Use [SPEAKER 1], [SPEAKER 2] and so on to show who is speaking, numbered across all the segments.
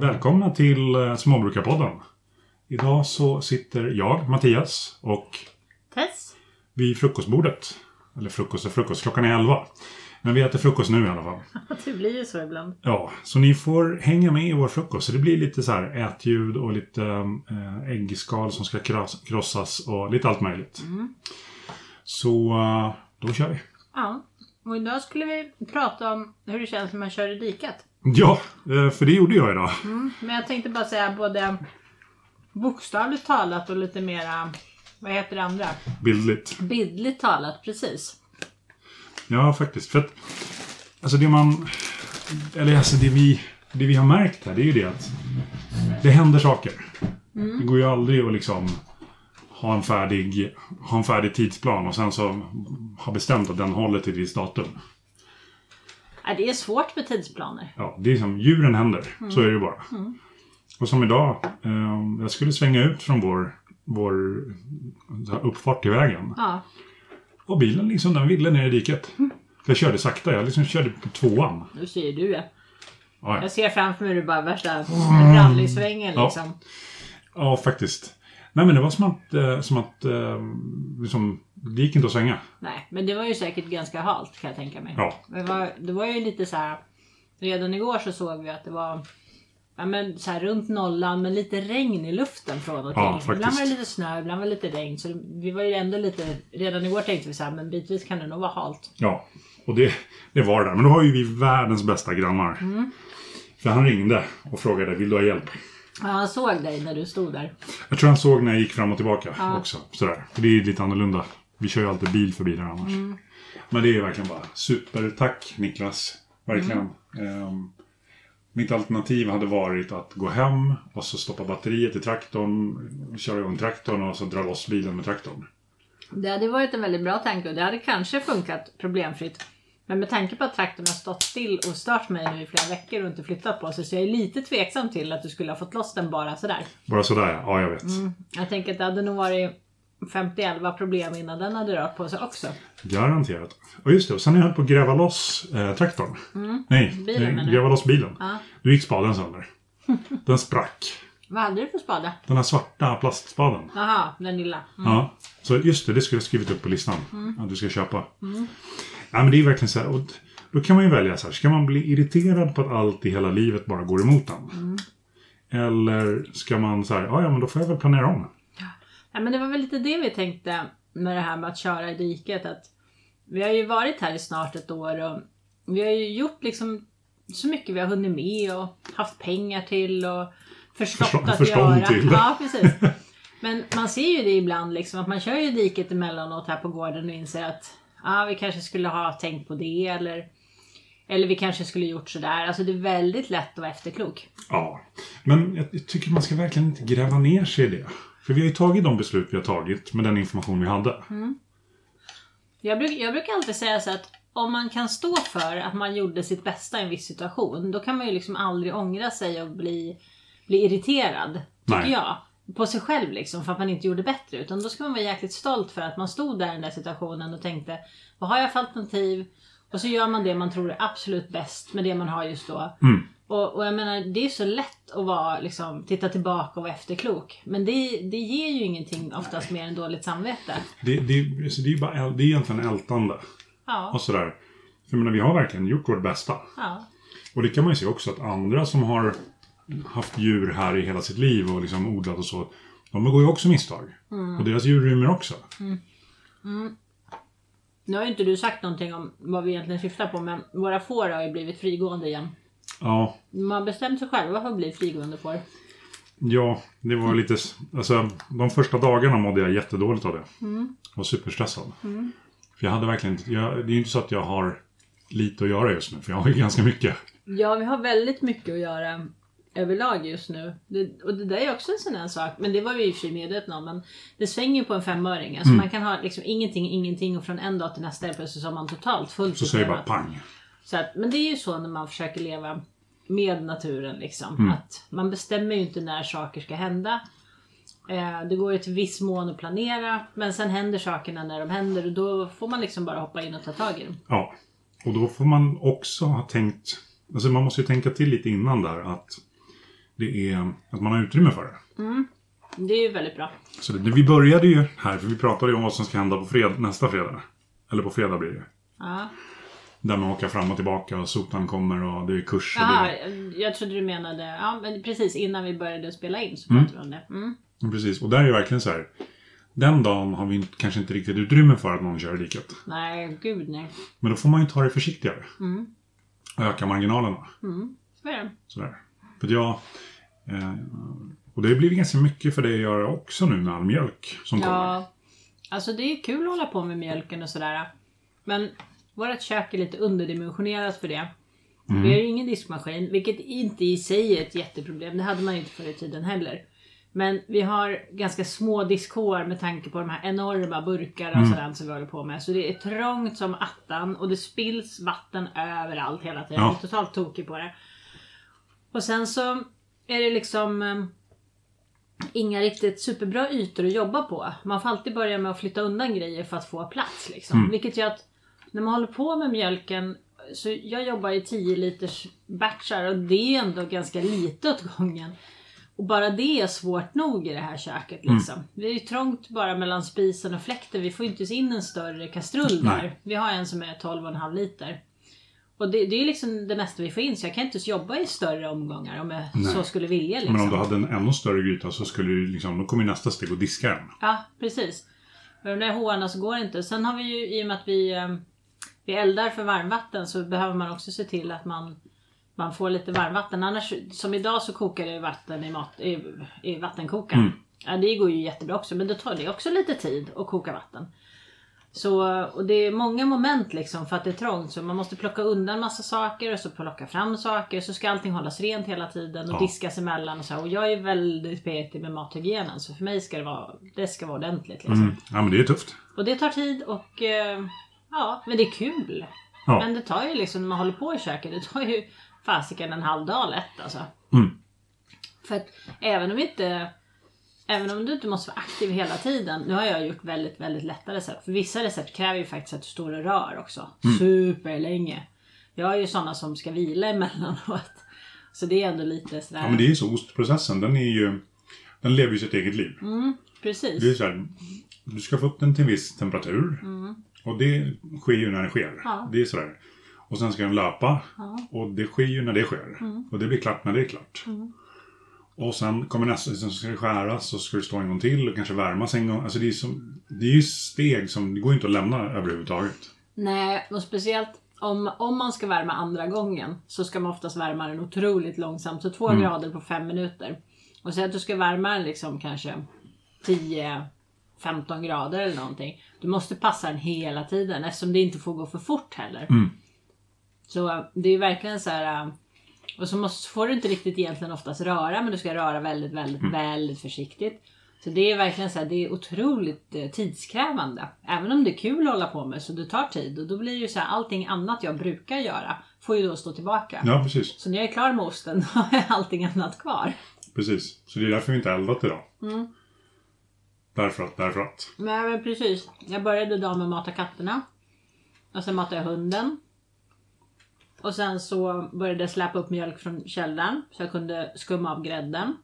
[SPEAKER 1] välkomna till eh, Småbrukarpodden. Idag så sitter jag, Mattias, och
[SPEAKER 2] Tess.
[SPEAKER 1] vid frukostbordet. Eller frukost och frukost, klockan är elva. Men vi äter frukost nu i alla fall.
[SPEAKER 2] Det blir ju så ibland.
[SPEAKER 1] Ja, så ni får hänga med i vår frukost. Så det blir lite så här ätljud och lite eh, äggskal som ska kras- krossas och lite allt möjligt. Så eh, då kör vi.
[SPEAKER 2] Ja. Och idag skulle vi prata om hur det känns när man kör i diket.
[SPEAKER 1] Ja, eh, för det gjorde jag idag.
[SPEAKER 2] Men jag tänkte bara säga både bokstavligt talat och lite mera, vad heter det andra?
[SPEAKER 1] Bildligt.
[SPEAKER 2] Bildligt talat, precis.
[SPEAKER 1] Ja, faktiskt. För att, alltså det man... Eller alltså det vi, det vi har märkt här, det är ju det att det händer saker. Det går ju aldrig att liksom ha en, färdig, ha en färdig tidsplan och sen så ha bestämt att den håller till ett visst datum.
[SPEAKER 2] Ja, Äh, det är svårt med tidsplaner.
[SPEAKER 1] Ja, det är som djuren händer. Så är det ju bara. Och som idag, eh, jag skulle svänga ut från vår, vår så här uppfart till vägen.
[SPEAKER 2] Ja.
[SPEAKER 1] Och bilen liksom, den ville ner i diket. Jag körde sakta, jag liksom körde på tvåan.
[SPEAKER 2] Nu ser du det.
[SPEAKER 1] Ja, ja. Mm.
[SPEAKER 2] Jag ser framför mig det bara värsta rallysvängen
[SPEAKER 1] Ja.
[SPEAKER 2] liksom.
[SPEAKER 1] Ja, faktiskt. Nej, men det var som att, eh, som att eh, liksom, det gick inte att svänga.
[SPEAKER 2] Nej, men det var ju säkert ganska halt kan jag tänka mig.
[SPEAKER 1] Ja.
[SPEAKER 2] Men det var, det var ju lite så här. Redan igår så såg vi att det var ja, men så här runt nollan men lite regn i luften från och till.
[SPEAKER 1] Ja, faktiskt.
[SPEAKER 2] ibland var det lite snö, ibland var det lite regn. Så vi var ju ändå lite, redan igår tänkte vi så här, men bitvis kan det nog vara halt.
[SPEAKER 1] Ja, och det, det var det. Men då har ju vi världens bästa grannar. För han ringde och frågade, vill du ha hjälp?
[SPEAKER 2] Ja, han såg dig när du stod där.
[SPEAKER 1] Jag tror han såg när jag gick fram och tillbaka
[SPEAKER 2] Ja.
[SPEAKER 1] också. Sådär. För det är ju lite annorlunda. Vi kör ju alltid bil förbi där annars. Men det är ju verkligen bara supertack Niklas. Verkligen. Ehm, mitt alternativ hade varit att gå hem och så stoppa batteriet i traktorn, köra igång traktorn och så dra loss bilen med traktorn.
[SPEAKER 2] Det hade varit en väldigt bra tanke och det hade kanske funkat problemfritt. Men med tanke på att traktorn har stått still och stört mig nu i flera veckor och inte flyttat på sig så jag är lite tveksam till att du skulle ha fått loss den bara sådär.
[SPEAKER 1] Bara sådär ja, ja jag vet.
[SPEAKER 2] Jag tänker att det hade nog varit 50-11 problem innan den hade rört på sig också.
[SPEAKER 1] Garanterat. Och just det, och sen när jag höll på att gräva loss eh, traktorn. Nej,
[SPEAKER 2] Mm. Bilen,
[SPEAKER 1] eh,
[SPEAKER 2] menar du?
[SPEAKER 1] gräva loss bilen.
[SPEAKER 2] Ja.
[SPEAKER 1] Då gick spaden sönder. Den sprack.
[SPEAKER 2] Vad hade du för spade?
[SPEAKER 1] Den här svarta plastspaden.
[SPEAKER 2] Jaha, den lilla. Mm.
[SPEAKER 1] Ja, så just det, det skulle jag skrivit upp på listan. Att du ska köpa.
[SPEAKER 2] Mm.
[SPEAKER 1] Ja, men det är verkligen så här. Och då kan man ju välja så här. Ska man bli irriterad på att allt i hela livet bara går emot en?
[SPEAKER 2] Mm.
[SPEAKER 1] Eller ska man så här. Ja, ja, men då får jag väl planera om.
[SPEAKER 2] Ja, men det var väl lite det vi tänkte med det här med att köra i diket. Att vi har ju varit här i snart ett år och vi har ju gjort liksom så mycket vi har hunnit med och haft pengar till och förstått
[SPEAKER 1] Förstå-
[SPEAKER 2] att
[SPEAKER 1] förstånd
[SPEAKER 2] göra.
[SPEAKER 1] till.
[SPEAKER 2] Ja, precis. Men man ser ju det ibland liksom att man kör ju i diket emellanåt här på gården och inser att ah, vi kanske skulle ha tänkt på det eller, eller vi kanske skulle gjort sådär. Alltså det är väldigt lätt att vara efterklok.
[SPEAKER 1] Ja, men jag jag tycker man ska verkligen inte gräva ner sig i det. För vi har ju tagit de beslut vi har tagit med den information vi hade.
[SPEAKER 2] Jag, bruk, jag brukar alltid säga så att om man kan stå för att man gjorde sitt bästa i en viss situation, då kan man ju liksom aldrig ångra sig och bli, bli irriterad, tycker
[SPEAKER 1] Nej.
[SPEAKER 2] jag. På sig själv liksom, för att man inte gjorde bättre. Utan då ska man vara jäkligt stolt för att man stod där i den där situationen och tänkte, vad har jag för alternativ? Och så gör man det man tror är absolut bäst med det man har just då.
[SPEAKER 1] Mm.
[SPEAKER 2] Och, och jag menar, det är så lätt att vara, liksom, titta tillbaka och vara efterklok. Men det, det ger ju ingenting oftast mer än dåligt samvete.
[SPEAKER 1] Det, det, alltså det är ju bara, äl- det är egentligen ältande.
[SPEAKER 2] Ja.
[SPEAKER 1] Och sådär. För jag menar, vi har verkligen gjort vårt bästa.
[SPEAKER 2] ja.
[SPEAKER 1] Och det kan man ju se också att andra som har haft djur här i hela sitt liv och liksom odlat och så. De begår ju också misstag. Och deras djur rymmer också.
[SPEAKER 2] Nu har ju inte du sagt någonting om vad vi egentligen syftar på men våra får har ju blivit frigående igen.
[SPEAKER 1] Ja,
[SPEAKER 2] De har bestämt sig själva för att bli frigående får.
[SPEAKER 1] ja det var lite... s- Alltså, de första dagarna mådde jag jättedåligt av det. Var superstressad. För jag hade verkligen inte- jag, Det är ju inte så att jag har lite att göra just nu. För jag har ju ganska mycket.
[SPEAKER 2] Ja, vi har väldigt mycket att göra överlag just nu. Det, och det där är också en sån här sak, men det var vi i och för sig medvetna om. Men det svänger ju på en femöring.
[SPEAKER 1] Mm.
[SPEAKER 2] Alltså man kan ha liksom ingenting, ingenting och från en dag till nästa helt plötsligt så har man totalt fullt
[SPEAKER 1] Så säger jag bara
[SPEAKER 2] upplevat.
[SPEAKER 1] pang.
[SPEAKER 2] Så att, men det är ju så när man försöker leva med naturen liksom.
[SPEAKER 1] Mm.
[SPEAKER 2] Att man bestämmer ju inte när saker ska hända. Eh, det går ju till viss mån att planera men sen händer sakerna när de händer och då får man liksom bara hoppa in och ta tag i dem.
[SPEAKER 1] Ja, och då får man också ha tänkt, alltså man måste ju tänka till lite innan där att det är att man har utrymme för det.
[SPEAKER 2] Det är ju väldigt bra.
[SPEAKER 1] Så det, vi började ju här, för vi pratade ju om vad som ska hända på fred, nästa fredag. Eller på fredag blir det.
[SPEAKER 2] Ja.
[SPEAKER 1] Där man åker fram och tillbaka och sotan kommer och det är kurs. Och
[SPEAKER 2] Jaha,
[SPEAKER 1] det,
[SPEAKER 2] jag trodde du menade, ja men precis innan vi började spela in så pratade vi om det. Mm.
[SPEAKER 1] Ja, precis, och där är ju verkligen så här. Den dagen har vi inte- kanske inte riktigt utrymme för att någon kör i diket.
[SPEAKER 2] Nej, gud nej.
[SPEAKER 1] Men då får man ju ta det försiktigare.
[SPEAKER 2] Mm.
[SPEAKER 1] Och öka marginalerna.
[SPEAKER 2] Så är det.
[SPEAKER 1] Sådär. För att jag... Eh, och det blir ganska mycket för dig att göra också nu med all mjölk som kommer.
[SPEAKER 2] Ja, alltså det är kul att hålla på med mjölken och sådär. Men vårt kök är lite underdimensionerat för det.
[SPEAKER 1] Mm.
[SPEAKER 2] Vi har ju ingen diskmaskin, vilket inte i sig är ett jätteproblem. Det hade man ju inte förr i tiden heller. Men vi har ganska små diskhår med tanke på de här enorma burkar och
[SPEAKER 1] Mm.
[SPEAKER 2] sådant som vi håller på med. Så det är trångt som attan och det spills vatten överallt hela tiden.
[SPEAKER 1] Ja.
[SPEAKER 2] Jag är totalt tokig på det. Och sen så är det liksom eh, inga riktigt superbra ytor att jobba på. Man får alltid börja med att flytta undan grejer för att få plats. Liksom.
[SPEAKER 1] Mm.
[SPEAKER 2] Vilket gör att när man håller på med mjölken, så jag jobbar i 10 liters batchar och det är ändå ganska lite åt gången. Och bara det är svårt nog i det här köket.
[SPEAKER 1] Mm.
[SPEAKER 2] Liksom. Det är ju trångt bara mellan spisen och fläkten. Vi får ju inte in en större kastrull där.
[SPEAKER 1] Nej.
[SPEAKER 2] Vi har en som är 12,5 liter. Och det, det är liksom det mesta vi får in så jag kan inte ens jobba i större omgångar om jag så skulle vilja. Liksom.
[SPEAKER 1] Men om du hade en ännu större gryta så skulle du liksom, då kommer ju nästa steg att diska den.
[SPEAKER 2] Ja, precis. Men de där håarna så går det inte. Sen har vi ju, i och med att vi, eh, vi eldar för varmvatten så behöver man också se till att man, man får lite varmvatten. Annars, som idag så kokar det vatten i, mat, i, i vattenkokaren. Ja, det går ju jättebra också, men då tar det också lite tid att koka vatten. Så, och det är många moment liksom för att det är trångt. Så man måste plocka undan massa saker och så plocka fram saker. Så ska allting hållas rent hela tiden och
[SPEAKER 1] Ja.
[SPEAKER 2] diskas emellan. Och, så här. och jag är väldigt petig med mathygienen. Så för mig ska det vara, det ska vara ordentligt. Liksom.
[SPEAKER 1] Mm. Ja, men det är tufft.
[SPEAKER 2] Och det tar tid och eh, ja, men det är kul.
[SPEAKER 1] Ja.
[SPEAKER 2] Men det tar ju liksom, när man håller på i köket, det tar ju fasiken en halv dag lätt alltså.
[SPEAKER 1] Mm.
[SPEAKER 2] För att även om inte Även om du inte måste vara aktiv hela tiden. Nu har jag gjort väldigt, väldigt lätta recept. För vissa recept kräver ju faktiskt att du står och rör också.
[SPEAKER 1] Mm.
[SPEAKER 2] Superlänge. Jag är ju sådana som ska vila emellanåt. Så det är ändå lite sådär.
[SPEAKER 1] Ja, men det är ju så. Ostprocessen, den är ju... Den lever ju sitt eget liv.
[SPEAKER 2] Precis.
[SPEAKER 1] Det är så här, du ska få upp den till en viss temperatur. Och det sker ju när det sker.
[SPEAKER 2] Ja.
[SPEAKER 1] Det är sådär. Och sen ska den löpa. Och det sker ju när det sker. Och det blir klart när det är klart. Och sen kommer nästa, sen ska det skäras och ska det stå en gång till och kanske värmas en gång. Alltså det är, som, det är ju steg som, det går ju inte att lämna överhuvudtaget.
[SPEAKER 2] Nej, och speciellt om, om man ska värma andra gången så ska man oftast värma den otroligt långsamt. Så två grader på fem minuter. Och säg att du ska värma den liksom kanske 10-15 grader eller någonting. Du måste passa den hela tiden eftersom det inte får gå för fort heller. Så äh, det är ju verkligen så här. äh, Och så måste, får du inte riktigt egentligen oftast röra men du ska röra väldigt, väldigt, väldigt försiktigt. Så det är verkligen så här, det är otroligt eh, tidskrävande. Även om det är kul att hålla på med så det tar tid och då blir ju så här allting annat jag brukar göra får ju då stå tillbaka.
[SPEAKER 1] Ja, precis.
[SPEAKER 2] Så när jag är klar med osten då har jag allting annat kvar.
[SPEAKER 1] Precis. Så det är därför vi inte har eldat idag. Därför att, därför att.
[SPEAKER 2] Nej men precis. Jag började idag med att mata katterna. Och sen matade jag hunden. Och sen så började jag släpa upp mjölk från källaren så jag kunde skumma av grädden.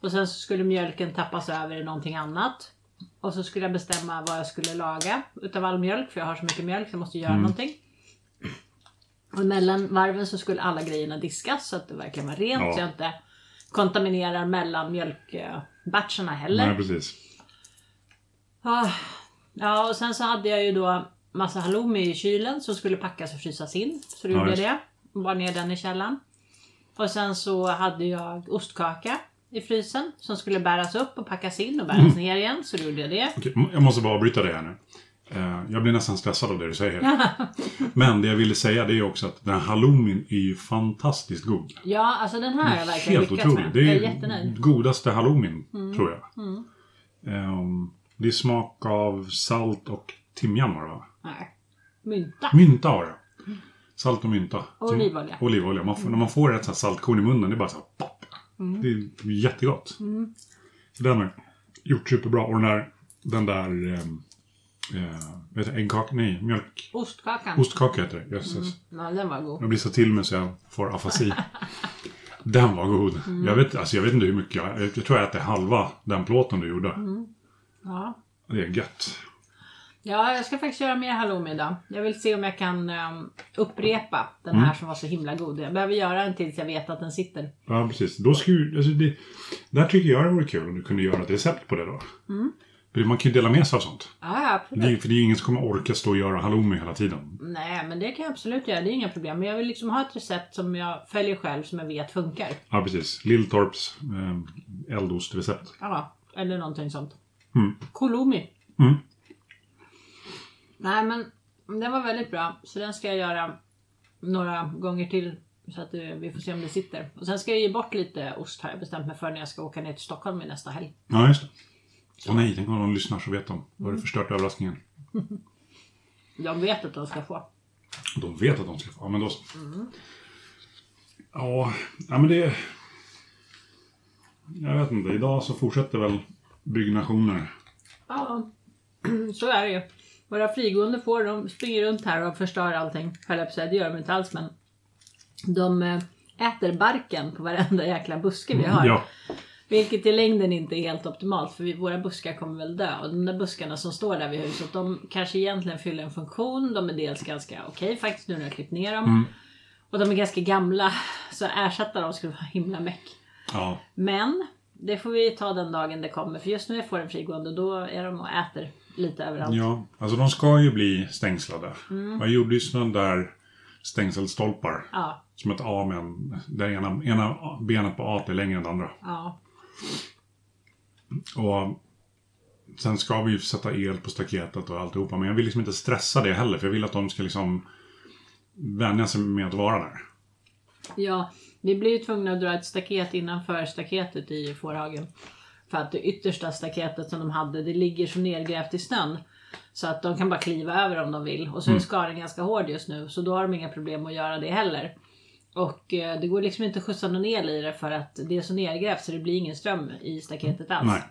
[SPEAKER 2] Och sen så skulle mjölken tappas över i någonting annat. Och så skulle jag bestämma vad jag skulle laga utav all mjölk för jag har så mycket mjölk så jag måste göra någonting. Och mellan varven så skulle alla grejerna diskas så att det verkligen var rent
[SPEAKER 1] Ja.
[SPEAKER 2] så jag inte kontaminerar mellan mjölkbatcherna heller.
[SPEAKER 1] Nej, precis.
[SPEAKER 2] Ah, Ja, och sen så hade jag ju då massa halloumi i kylen som skulle packas och frysas in. Så då
[SPEAKER 1] Ja,
[SPEAKER 2] gjorde jag
[SPEAKER 1] just.
[SPEAKER 2] det. Bar ner den i källaren. Och sen så hade jag ostkaka i frysen som skulle bäras upp och packas in och bäras
[SPEAKER 1] Mm.
[SPEAKER 2] ner igen. Så då gjorde jag det.
[SPEAKER 1] Okej, m- jag måste bara avbryta det här nu. Eh, Jag blir nästan stressad av det du säger. Men det jag ville säga det är också att den här halloumin är ju fantastiskt god.
[SPEAKER 2] Ja, alltså den här har jag verkligen
[SPEAKER 1] Helt
[SPEAKER 2] lyckats
[SPEAKER 1] otrolig.
[SPEAKER 2] med.
[SPEAKER 1] Det
[SPEAKER 2] Jag
[SPEAKER 1] är
[SPEAKER 2] är jättenöjd. Mm.
[SPEAKER 1] godaste halloumin, tror jag. Ehm, Det är smak av salt och timjan var det va?
[SPEAKER 2] Nej. Mynta.
[SPEAKER 1] Mynta har det. Salt och mynta.
[SPEAKER 2] Och olivolja.
[SPEAKER 1] Och olivolja. Man får, När man får ett sånt här saltkorn i munnen, det är bara så här, pop.
[SPEAKER 2] Mm.
[SPEAKER 1] Det är jättegott. Så den har jag gjort superbra. Och den där, den där ehm, eh, vet du, äggkaka, nej, mjölk,
[SPEAKER 2] Ostkakan. Mm.
[SPEAKER 1] ostkaka heter det. Jösses.
[SPEAKER 2] Ja, den var god.
[SPEAKER 1] Jag blir så till mig så jag får afasi. Den var god.
[SPEAKER 2] Mm.
[SPEAKER 1] Jag, vet, alltså jag vet inte hur mycket jag... Jag tror jag äter halva den plåten du gjorde.
[SPEAKER 2] Mm. Ja.
[SPEAKER 1] Det är gött.
[SPEAKER 2] Ja, jag ska faktiskt göra mer halloumi idag. Jag vill se om jag kan ehm, upprepa den
[SPEAKER 1] Mm.
[SPEAKER 2] här som var så himla god. Jag behöver göra en tills jag vet att den sitter.
[SPEAKER 1] Ja, precis. Då skulle, alltså det, där tycker jag det vore kul om du kunde göra ett recept på det då. För man kan ju dela med sig av sånt.
[SPEAKER 2] Ja,
[SPEAKER 1] Det, är
[SPEAKER 2] absolut.
[SPEAKER 1] ju- för det är ju ingen som kommer orka stå och göra halloumi hela tiden.
[SPEAKER 2] Nej, men det kan jag absolut göra. Det är inga problem. Men jag vill liksom ha ett recept som jag följer själv som jag vet funkar.
[SPEAKER 1] Ja, precis. Lilltorps eh, eldostrecept.
[SPEAKER 2] Ja, eller någonting sånt.
[SPEAKER 1] Mm.
[SPEAKER 2] Kolumi.
[SPEAKER 1] Mm.
[SPEAKER 2] Nej, men den var väldigt bra. Så den ska jag göra några gånger till. Så att eh, vi får se om det sitter. Och sen ska jag ge bort lite ost har jag bestämt mig för när jag ska åka ner till Stockholm i nästa helg.
[SPEAKER 1] Ja, just det. Åh nej, tänk om någon lyssnar så vet de. Då har du förstört överraskningen.
[SPEAKER 2] De vet att de ska få.
[SPEAKER 1] De vet att de ska få. Ja, men då så. Ja, ja, men det... Jag vet inte. Idag så fortsätter väl byggnationer.
[SPEAKER 2] Ja, så är det ju. Våra frigående får, de springer runt här och förstör allting. Höll jag på att säga, det gör de inte alls men. De eh, äter barken på varenda jäkla buske vi har.
[SPEAKER 1] Ja,
[SPEAKER 2] Vilket i längden inte är helt optimalt för vi, våra buskar kommer väl dö. Och de där buskarna som står där vid huset, de kanske egentligen fyller en funktion. De är dels ganska okej faktiskt nu när jag klippt ner dem. Och de är ganska gamla, så att ersätta dem skulle vara himla meck.
[SPEAKER 1] ja.
[SPEAKER 2] Men det får vi ta den dagen det kommer. För just nu är fåren frigående och då är de och äter lite överallt.
[SPEAKER 1] Ja, alltså de ska ju bli stängslade. Man gjorde ju sådana där stängselstolpar.
[SPEAKER 2] Mm. Ja,
[SPEAKER 1] Som ett A med en, där ena, ena benet på A är längre än det andra.
[SPEAKER 2] ja,
[SPEAKER 1] Och sen ska vi ju sätta el på staketet och alltihopa. Men jag vill liksom inte stressa det heller. För jag vill att de ska liksom vänja sig med att vara där.
[SPEAKER 2] ja. Vi blir ju tvungna att dra ett staket innanför staketet i fårhagen. För att det yttersta staketet som de hade, det ligger så nergrävt i snön. Så att de kan bara kliva över om de vill. Och så är
[SPEAKER 1] Mm.
[SPEAKER 2] skaren ganska hård just nu, så då har de inga problem att göra det heller. Och eh, det går liksom inte att skjutsa någon el i det för att det är så nergrävt så det blir ingen ström i staketet alls.
[SPEAKER 1] Nej.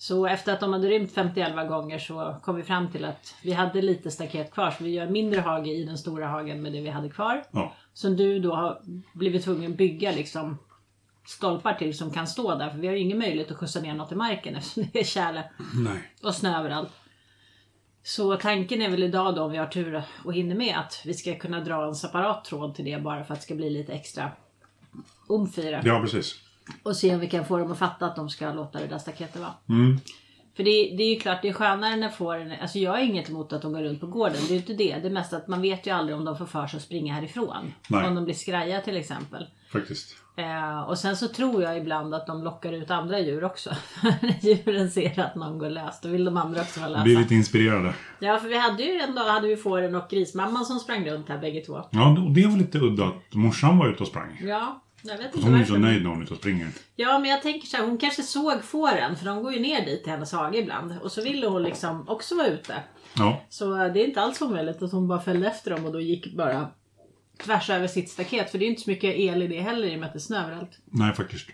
[SPEAKER 2] Så efter att de hade rymt 50-11 gånger så kom vi fram till att vi hade lite staket kvar så vi gör mindre hage i den stora hagen med det vi hade kvar.
[SPEAKER 1] Ja.
[SPEAKER 2] Som du då har blivit tvungen att bygga liksom stolpar till som kan stå där för vi har ju ingen möjlighet att skjutsa ner något i marken eftersom det är tjäle
[SPEAKER 1] Nej.
[SPEAKER 2] och snö överallt. Så tanken är väl idag då om vi har tur och hinner med att vi ska kunna dra en separat tråd till det bara för att det ska bli lite extra omf i det.
[SPEAKER 1] Ja, precis.
[SPEAKER 2] Och se om vi kan få dem att fatta att de ska låta det där staketet vara.
[SPEAKER 1] Mm.
[SPEAKER 2] För det, det är ju klart, det är skönare när fåren... Alltså jag är inget emot att de går runt på gården. Det är ju inte det. Det är mest att man vet ju aldrig om de får för sig att springa härifrån.
[SPEAKER 1] Nej.
[SPEAKER 2] Om de blir skraja till exempel.
[SPEAKER 1] Faktiskt.
[SPEAKER 2] Eh, och sen så tror jag ibland att de lockar ut andra djur också. När Djuren ser att någon går lös, då vill de andra också vara lösa.
[SPEAKER 1] Bli lite inspirerade.
[SPEAKER 2] Ja, för vi hade ju en dag hade vi fåren och grismamman som sprang runt här bägge två.
[SPEAKER 1] Ja, och det var lite udda att morsan var ute och sprang.
[SPEAKER 2] Ja, jag vet inte
[SPEAKER 1] Hon är ju så
[SPEAKER 2] varför.
[SPEAKER 1] nöjd när hon är ute och springer.
[SPEAKER 2] Ja, men jag tänker så här, hon kanske såg fåren, för de går ju ner dit till hennes hage ibland. Och så ville hon liksom också vara ute.
[SPEAKER 1] Ja.
[SPEAKER 2] Så eh, det är inte alls omöjligt att hon bara följde efter dem och då gick bara tvärs över sitt staket. För det är ju inte så mycket el i det heller i och med att det är snö överallt.
[SPEAKER 1] Nej, faktiskt.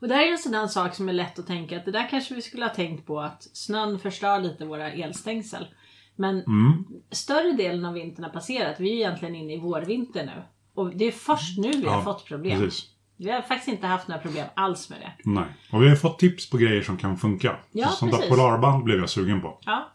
[SPEAKER 2] Och där är en sådan sak som är lätt att tänka att det där kanske vi skulle ha tänkt på att snön förstör lite våra elstängsel. Men
[SPEAKER 1] Mm.
[SPEAKER 2] större delen av vintern har passerat. Vi är egentligen inne i vårvinter nu. Och det är först nu vi har
[SPEAKER 1] Ja,
[SPEAKER 2] fått problem.
[SPEAKER 1] Precis.
[SPEAKER 2] Vi har faktiskt inte haft några problem alls med det.
[SPEAKER 1] Nej. Och vi har ju fått tips på grejer som kan funka.
[SPEAKER 2] Ja,
[SPEAKER 1] Sånt där
[SPEAKER 2] precis.
[SPEAKER 1] polarband blev jag sugen på.
[SPEAKER 2] Ja.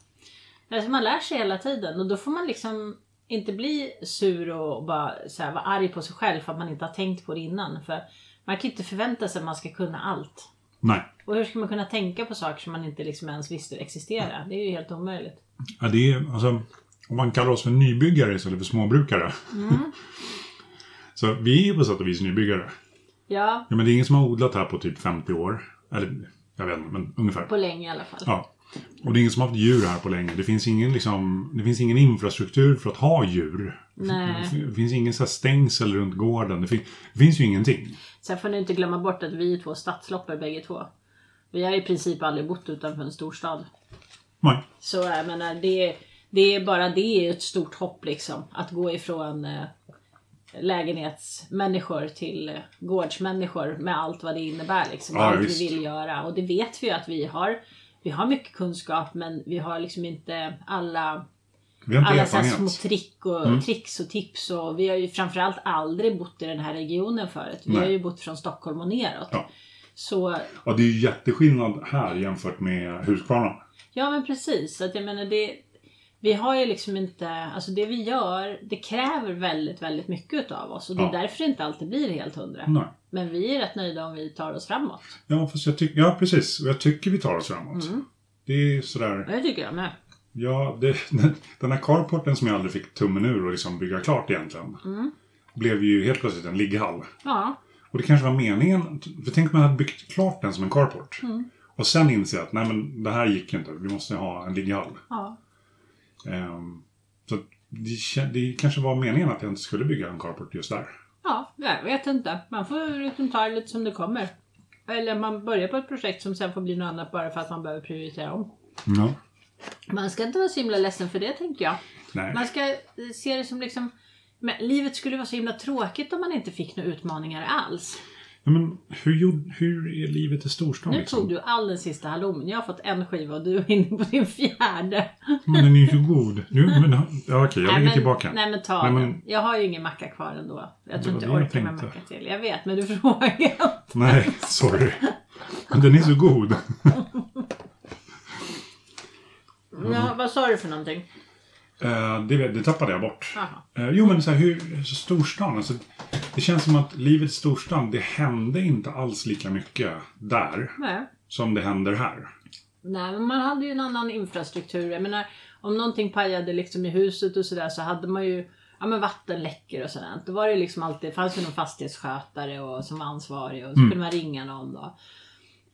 [SPEAKER 2] Alltså man lär sig hela tiden och då får man liksom inte bli sur och bara så här, vara arg på sig själv för att man inte har tänkt på det innan. För man kan inte förvänta sig att man ska kunna allt.
[SPEAKER 1] Nej.
[SPEAKER 2] Och hur ska man kunna tänka på saker som man inte liksom ens visste existera? Det är ju helt omöjligt.
[SPEAKER 1] Ja, det är, alltså, om man kallar oss för nybyggare istället för småbrukare.
[SPEAKER 2] Mm.
[SPEAKER 1] så vi är ju på sätt och vis nybyggare.
[SPEAKER 2] Ja,
[SPEAKER 1] Ja, men det är ingen som har odlat här på typ 50 år. Eller, jag vet inte, men ungefär.
[SPEAKER 2] på länge i alla fall.
[SPEAKER 1] Ja. Och det är ingen som har haft djur här på länge. Det finns ingen, liksom, det finns ingen infrastruktur för att ha djur.
[SPEAKER 2] Nej.
[SPEAKER 1] Det finns ingen så här stängsel runt gården. Det, fin- det finns ju ingenting.
[SPEAKER 2] Sen får ni inte glömma bort att vi är två stadsloppor bägge två. Vi har i princip aldrig bott utanför en storstad.
[SPEAKER 1] Nej.
[SPEAKER 2] Så jag menar, det, det är bara det är ju ett stort hopp liksom. Att gå ifrån eh, lägenhetsmänniskor till eh, gårdsmänniskor med allt vad det innebär. Liksom,
[SPEAKER 1] Ja,
[SPEAKER 2] allt
[SPEAKER 1] visst.
[SPEAKER 2] vi vill göra. Och det vet vi ju att vi har. Vi har mycket kunskap men vi har liksom inte alla
[SPEAKER 1] Vi har inte
[SPEAKER 2] alla så här små
[SPEAKER 1] erfarenhet. Mm.
[SPEAKER 2] trick och, tricks och tips. Och vi har ju framförallt aldrig bott i den här regionen förut. Vi
[SPEAKER 1] Nej.
[SPEAKER 2] har ju bott från Stockholm och neråt.
[SPEAKER 1] Ja.
[SPEAKER 2] Så
[SPEAKER 1] Ja, det är ju jätteskillnad här jämfört med Husqvarna.
[SPEAKER 2] ja men precis. Så Att jag menar, det, vi har ju liksom inte, alltså det vi gör det kräver väldigt, väldigt mycket utav oss. Och det är
[SPEAKER 1] Ja.
[SPEAKER 2] därför det inte alltid blir helt hundra.
[SPEAKER 1] Nej.
[SPEAKER 2] Men vi är rätt nöjda om vi tar oss framåt.
[SPEAKER 1] Ja, fast jag tycker... Ja, precis. Och jag tycker vi tar oss framåt. Det är ju sådär...
[SPEAKER 2] Och det tycker jag med.
[SPEAKER 1] Ja, det, den här carporten som jag aldrig fick tummen ur och liksom bygga klart egentligen. Blev ju helt plötsligt en ligghall.
[SPEAKER 2] Ja,
[SPEAKER 1] Och det kanske var meningen. För tänk om man hade byggt klart den som en carport. Och sen inser jag att nej men det här gick ju inte. Vi måste ha en ligghall.
[SPEAKER 2] ja.
[SPEAKER 1] Ehm, så att det, kän- det kanske var meningen att jag inte skulle bygga en carport just där.
[SPEAKER 2] Ja, jag vet inte. Man får liksom ta det lite som det kommer. Eller man börjar på ett projekt som sen får bli något annat bara för att man behöver prioritera om.
[SPEAKER 1] Ja.
[SPEAKER 2] Man ska inte vara så himla ledsen för det tänker jag.
[SPEAKER 1] Nej.
[SPEAKER 2] Man ska eh, se det som liksom men livet skulle vara så himla tråkigt om man inte fick några utmaningar alls.
[SPEAKER 1] Ja, men hur, gjorde, hur är livet i storstan
[SPEAKER 2] Nu
[SPEAKER 1] liksom?
[SPEAKER 2] tog du all den sista halloumin. Jag har fått en skiva och du är inne på din fjärde.
[SPEAKER 1] Men den är ju god. Nu, men, ja, okej, jag
[SPEAKER 2] Nej,
[SPEAKER 1] lägger
[SPEAKER 2] men,
[SPEAKER 1] tillbaka.
[SPEAKER 2] Nej men ta
[SPEAKER 1] Nej,
[SPEAKER 2] den.
[SPEAKER 1] men-
[SPEAKER 2] Jag har ju ingen macka kvar ändå. Jag tror
[SPEAKER 1] var
[SPEAKER 2] inte
[SPEAKER 1] det
[SPEAKER 2] jag
[SPEAKER 1] jag
[SPEAKER 2] orkar med
[SPEAKER 1] tänkte.
[SPEAKER 2] macka till. Jag vet, men du frågar.
[SPEAKER 1] Nej, sorry. Men den är så god.
[SPEAKER 2] Ja, vad sa du för någonting?
[SPEAKER 1] Eh, det, det tappade jag bort.
[SPEAKER 2] Jaha.
[SPEAKER 1] Eh, jo, men så här, hur, så storstan. Alltså, det känns som att livet i storstan, det hände inte alls lika mycket där
[SPEAKER 2] Nej.
[SPEAKER 1] som det händer här.
[SPEAKER 2] Nej, men man hade ju en annan infrastruktur. Jag menar, om någonting pajade liksom i huset och sådär så hade man ju ja, men vattenläckor och sådant. Då var det liksom alltid, det fanns ju någon fastighetsskötare och, som var ansvarig och så
[SPEAKER 1] Mm.
[SPEAKER 2] kunde man ringa någon då.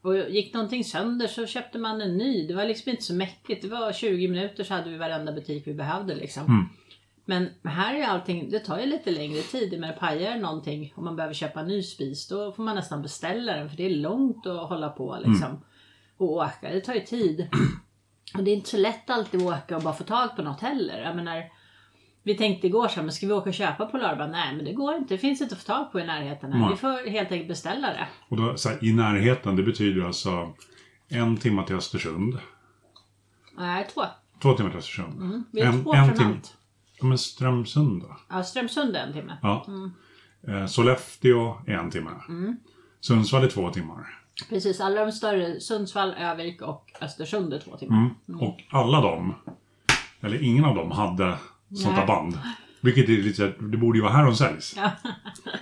[SPEAKER 2] Och gick någonting sönder så köpte man en ny. Det var liksom inte så mäckigt. Det var 20 minuter så hade vi varenda butik vi behövde liksom. Men här är ju allting, det tar ju lite längre tid. Men pajar någonting och man behöver köpa en ny spis då får man nästan beställa den för det är långt att hålla på liksom. Och åka, det tar ju tid. Och det är inte så lätt alltid att åka och bara få tag på något heller. Jag menar, vi tänkte igår så här, men ska vi åka och köpa på lördag? Nej men det går inte, det finns inte att få tag på i närheten här.
[SPEAKER 1] Nej.
[SPEAKER 2] Vi får helt enkelt beställa det.
[SPEAKER 1] Och då, så här, i närheten, det betyder alltså en timme till Östersund.
[SPEAKER 2] Nej, två.
[SPEAKER 1] Två timmar till Östersund.
[SPEAKER 2] Mm, Vi är två från
[SPEAKER 1] timme.
[SPEAKER 2] allt.
[SPEAKER 1] Ja, men Strömsund då?
[SPEAKER 2] Ja, Strömsund är en timme.
[SPEAKER 1] Ja. Eh, Sollefteå är en timme. Sundsvall är två timmar.
[SPEAKER 2] Precis, alla de större, Sundsvall, Övik och Östersund är två timmar.
[SPEAKER 1] Mm. Och alla de, eller ingen av dem, hade sånt
[SPEAKER 2] Nej.
[SPEAKER 1] där band. Vilket är lite, så här, det borde ju vara här de säljs.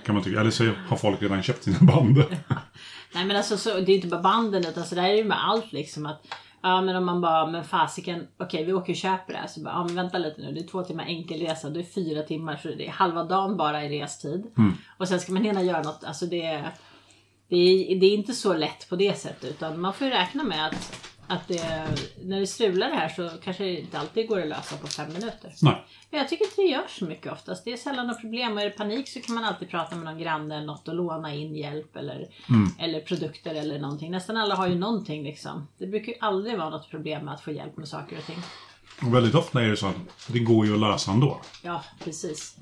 [SPEAKER 1] Kan man tycka. Eller så har folk redan köpt sina band.
[SPEAKER 2] Nej men alltså så, det är inte bara banden utan så där är det med allt liksom att Ja men om man bara, men fasiken, okej vi åker och köper det här. Så bara, ja men vänta lite nu, det är två timmar enkelresa, då är det fyra timmar, så det är halva dagen bara i restid. Och sen ska man hinna göra något, alltså det är, det är, det är inte så lätt på det sättet utan man får ju räkna med att, att det, när det strular det här så kanske det inte alltid går att lösa på fem minuter.
[SPEAKER 1] Nej.
[SPEAKER 2] Men jag tycker inte det görs så mycket oftast. Det är sällan något problem och är det panik så kan man alltid prata med någon granne eller något och låna in hjälp eller, eller produkter eller någonting. Nästan alla har ju någonting liksom. Det brukar ju aldrig vara något problem med att få hjälp med saker och ting.
[SPEAKER 1] Och väldigt ofta är det så att det går ju att lösa ändå.
[SPEAKER 2] Ja, precis.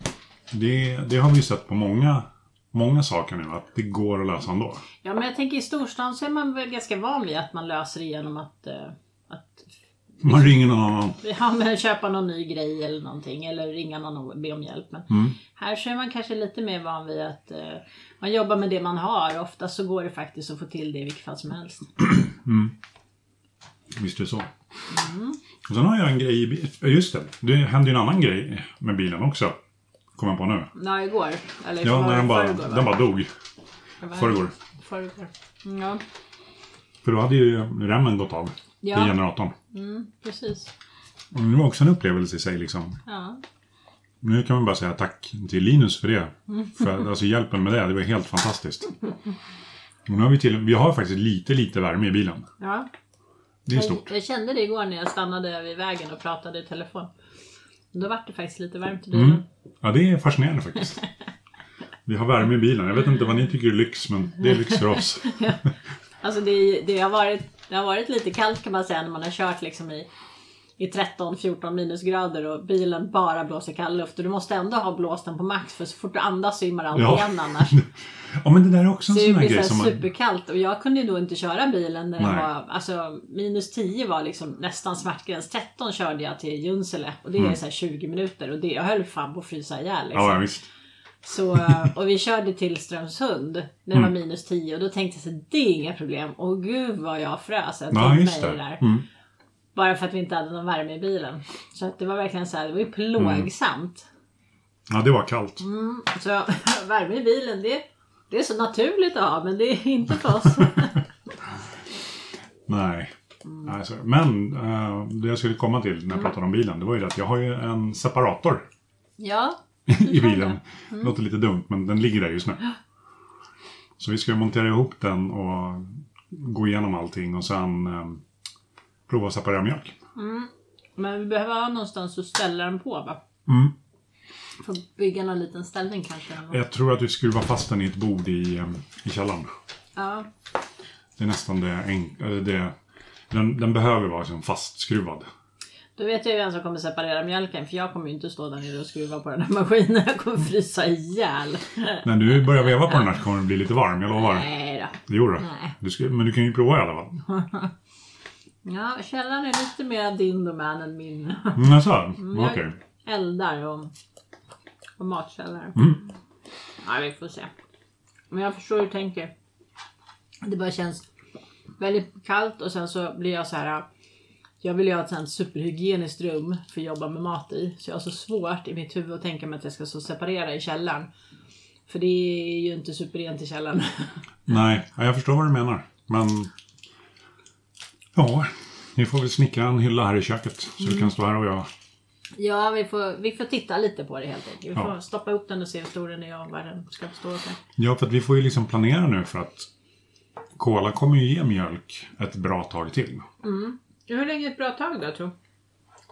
[SPEAKER 1] Det, det har vi ju sett på många, många saker nu, att det går att lösa ändå.
[SPEAKER 2] Ja, men jag tänker i storstan så är man väl ganska van vid att man löser det genom att, eh, att
[SPEAKER 1] Man ringer någon annan.
[SPEAKER 2] ja, men köpa någon ny grej eller någonting eller ringa någon och be om hjälp. Men här så är man kanske lite mer van vid att eh, man jobbar med det man har. Ofta så går det faktiskt att få till det i vilket fall som helst.
[SPEAKER 1] Visst är det så. Och sen har jag en grej i bilen. Just det, det hände ju en annan grej med bilen också. Kommer jag på nu.
[SPEAKER 2] Ja, igår.
[SPEAKER 1] Ja,
[SPEAKER 2] Eller förrgår,
[SPEAKER 1] när den bara,
[SPEAKER 2] förrgår, va?
[SPEAKER 1] den bara dog.
[SPEAKER 2] Det var-
[SPEAKER 1] Förrgår.
[SPEAKER 2] Förrgår. Mm, Ja,
[SPEAKER 1] För då hade ju remmen gått av
[SPEAKER 2] Ja.
[SPEAKER 1] i generatorn.
[SPEAKER 2] precis.
[SPEAKER 1] Och det var också en upplevelse i sig liksom.
[SPEAKER 2] Ja.
[SPEAKER 1] Nu kan man bara säga tack till Linus för det. För alltså hjälpen med det, det var helt fantastiskt. Och nu har vi till, vi har faktiskt lite, lite värme i bilen.
[SPEAKER 2] ja.
[SPEAKER 1] Det är stort.
[SPEAKER 2] Jag, jag kände det igår när jag stannade vid vägen och pratade i telefon. Då var det faktiskt lite varmt i bilen.
[SPEAKER 1] Mm. Ja, det är fascinerande faktiskt. Vi har värme i bilen. Jag vet inte vad ni tycker är lyx, men det är lyx för oss.
[SPEAKER 2] Alltså det, är- det, har varit, det har varit lite kallt kan man säga när man har kört liksom i i 13-14 minusgrader och bilen bara blåser kall luft. Och du måste ändå ha blåsten på max för så fort du andas simmar allt
[SPEAKER 1] Ja.
[SPEAKER 2] igen annars.
[SPEAKER 1] Ja, men det där är också en
[SPEAKER 2] Så
[SPEAKER 1] sån
[SPEAKER 2] det
[SPEAKER 1] här
[SPEAKER 2] blir
[SPEAKER 1] grej
[SPEAKER 2] såhär
[SPEAKER 1] som man...
[SPEAKER 2] superkallt och jag kunde ju då inte köra bilen när det
[SPEAKER 1] Nej.
[SPEAKER 2] var, alltså minus 10 var liksom nästan smärtgräns. 13 körde jag till Junsele och det är såhär 20 minuter och det, jag höll fan på att frysa ihjäl liksom.
[SPEAKER 1] Mm. Ja, ja, visst.
[SPEAKER 2] Så, eh, och vi körde till Strömsund när
[SPEAKER 1] Mm.
[SPEAKER 2] det var minus 10 och då tänkte jag så det är inga problem. Och gud vad jag frös. Jag
[SPEAKER 1] Ja,
[SPEAKER 2] tog
[SPEAKER 1] just
[SPEAKER 2] mig
[SPEAKER 1] det.
[SPEAKER 2] det där.
[SPEAKER 1] Mm.
[SPEAKER 2] Bara för att vi inte hade någon värme i bilen. Så att det var verkligen så här, det var ju plågsamt.
[SPEAKER 1] Ja, det var kallt. Mm.
[SPEAKER 2] Så värme i bilen, det, det är så naturligt att ha men det är inte för oss.
[SPEAKER 1] Nej. Nej, så- Men eh, det jag skulle komma till
[SPEAKER 2] Mm.
[SPEAKER 1] när jag pratade om bilen, det var ju det att jag har ju en separator
[SPEAKER 2] ja, Mm.
[SPEAKER 1] i bilen. Låter lite dumt, men den ligger där just nu. Så vi ska ju montera ihop den och gå igenom allting och sen eh, prova att separera mjölk.
[SPEAKER 2] men vi behöver ha någonstans att ställa den på va?
[SPEAKER 1] Mm.
[SPEAKER 2] Får bygga någon liten ställning kanske. eller något.
[SPEAKER 1] Jag tror att vi skruvar fast den i ett bord i, eh, i källaren.
[SPEAKER 2] Ja,
[SPEAKER 1] Det är nästan det, enk- eller det den, den behöver vara liksom fastskruvad.
[SPEAKER 2] då vet jag ju vem som kommer separera mjölken för jag kommer ju inte stå där nere och skruva på den här maskinen. Jag kommer frysa ihjäl.
[SPEAKER 1] När du börjar veva på den här så kommer den bli lite varm, jag lovar.
[SPEAKER 2] Nej då.
[SPEAKER 1] Jo då.
[SPEAKER 2] Nej.
[SPEAKER 1] Du ska, men du kan ju prova i alla fall.
[SPEAKER 2] Ja, källaren är lite mer din domän än min.
[SPEAKER 1] Mm, jag sa Okej.
[SPEAKER 2] Eldar och, och matkällare. Ja, vi får se. Men jag förstår hur du tänker. Det bara känns väldigt kallt och sen så blir jag så här. Jag vill ju ha ett sånt superhygieniskt rum för att jobba med mat i. Så jag har så svårt i mitt huvud att tänka mig att jag ska så separera i källaren. För det är ju inte superrent i källaren.
[SPEAKER 1] Nej, ja, jag förstår vad du menar. Men... Ja, vi får väl snickra en hylla här i köket. Så du
[SPEAKER 2] Mm.
[SPEAKER 1] kan stå här och jag...
[SPEAKER 2] Ja, vi får, vi får titta lite på det helt enkelt. Vi
[SPEAKER 1] Ja.
[SPEAKER 2] får stoppa upp den och se hur stor den är och vad den ska stå för.
[SPEAKER 1] Ja, för att vi får ju liksom planera nu för att Cola kommer ju ge mjölk ett bra tag till.
[SPEAKER 2] Hur länge är ett bra tag då, tror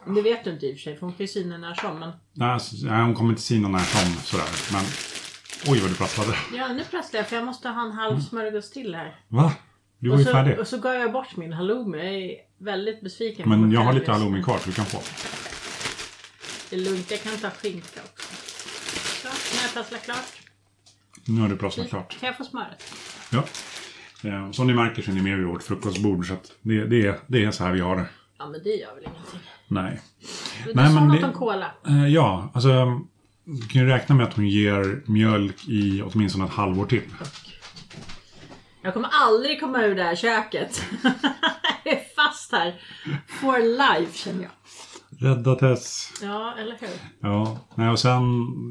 [SPEAKER 2] du? Det vet du inte i och för sig, för hon kan ju sina när som. Men...
[SPEAKER 1] Nej, alltså, nej, hon kommer inte sina när som sådär. Men... Oj, vad du prasslade.
[SPEAKER 2] Ja, nu prasslar jag för jag måste ha en
[SPEAKER 1] Mm.
[SPEAKER 2] halv smörgås till här.
[SPEAKER 1] Va? Du var
[SPEAKER 2] Och
[SPEAKER 1] ju
[SPEAKER 2] så,
[SPEAKER 1] färdig.
[SPEAKER 2] och så gav jag bort min halloumi. Jag är väldigt besviken. på
[SPEAKER 1] Men
[SPEAKER 2] mig
[SPEAKER 1] jag har
[SPEAKER 2] själv
[SPEAKER 1] lite
[SPEAKER 2] just nu.
[SPEAKER 1] halloumi kvar så du kan få.
[SPEAKER 2] Det är lugnt, jag kan ta skinka också. Så, nu har jag prasslat klart.
[SPEAKER 1] Nu har du prasslat klart.
[SPEAKER 2] Kan jag få smöret?
[SPEAKER 1] Ja. Eh, Som ni märker så är ni med vid vårt frukostbord. Så att det, det, är- det är så här vi har det.
[SPEAKER 2] Ja, men det gör väl ingenting.
[SPEAKER 1] Nej.
[SPEAKER 2] Du,
[SPEAKER 1] Nej,
[SPEAKER 2] du sa
[SPEAKER 1] men
[SPEAKER 2] något
[SPEAKER 1] det-
[SPEAKER 2] om cola.
[SPEAKER 1] Eh, Ja, alltså. Du kan ju räkna med att hon ger mjölk i åtminstone ett halvår till.
[SPEAKER 2] Jag kommer aldrig komma ur det här köket. jag är fast här. For life känner jag.
[SPEAKER 1] Rädda Tess.
[SPEAKER 2] Ja, eller hur?
[SPEAKER 1] Ja, nej, och sen.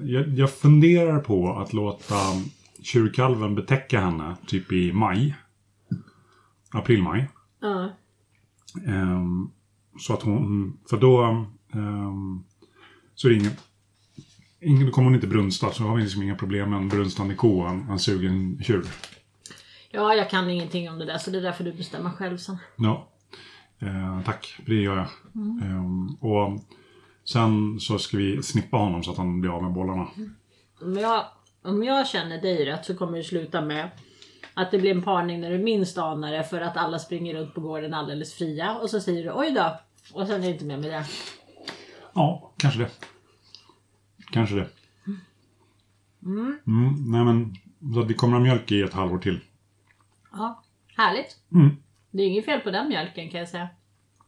[SPEAKER 1] Jag, jag funderar på att låta tjurkalven betäcka henne typ i maj. April-maj.
[SPEAKER 2] Ja.
[SPEAKER 1] Ehm, så att hon, för då ehm, så är det ingen, ingen, då kommer hon inte brunsta. Så har vi liksom inga problem med en brunstande ko och en, en sugen tjur.
[SPEAKER 2] Ja, jag kan ingenting om det där så det är därför du bestämmer själv sen.
[SPEAKER 1] Ja. Eh, tack, för det gör jag.
[SPEAKER 2] Mm.
[SPEAKER 1] Ehm, och sen så ska vi snippa honom så att han blir av med bollarna.
[SPEAKER 2] Om jag, om jag känner dig rätt så kommer det sluta med att det blir en parning när du minst anar det för att alla springer runt på gården alldeles fria och så säger du oj då och sen är det inte mer med det.
[SPEAKER 1] Ja, kanske det. Kanske det. Mm, nej men, så att vi kommer ha mjölk i ett halvår till.
[SPEAKER 2] Ja, härligt.
[SPEAKER 1] Mm.
[SPEAKER 2] Det är inget fel på den mjölken kan jag säga.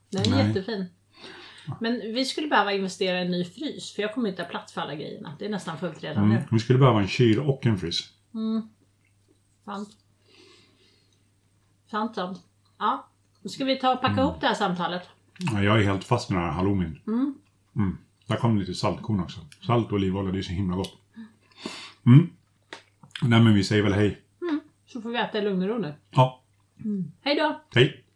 [SPEAKER 2] Den är
[SPEAKER 1] Nej.
[SPEAKER 2] jättefin. Men vi skulle behöva investera i en ny frys för jag kommer inte ha plats för alla grejerna. Det är nästan fullt redan
[SPEAKER 1] Mm.
[SPEAKER 2] nu.
[SPEAKER 1] Vi skulle behöva en kyl och en frys.
[SPEAKER 2] Sant. Sant, sant. Ja. Ska vi ta och
[SPEAKER 1] Mm.
[SPEAKER 2] packa ihop det här samtalet?
[SPEAKER 1] Ja, Jag är helt fast med den här halloumin. Mm. Där kom det lite saltkorn också. Salt och olivolja, det är så himla gott. Mm. Nej men vi säger väl hej.
[SPEAKER 2] Så får vi äta i lugn och ro nu.
[SPEAKER 1] Ja,
[SPEAKER 2] Hej då!
[SPEAKER 1] hej.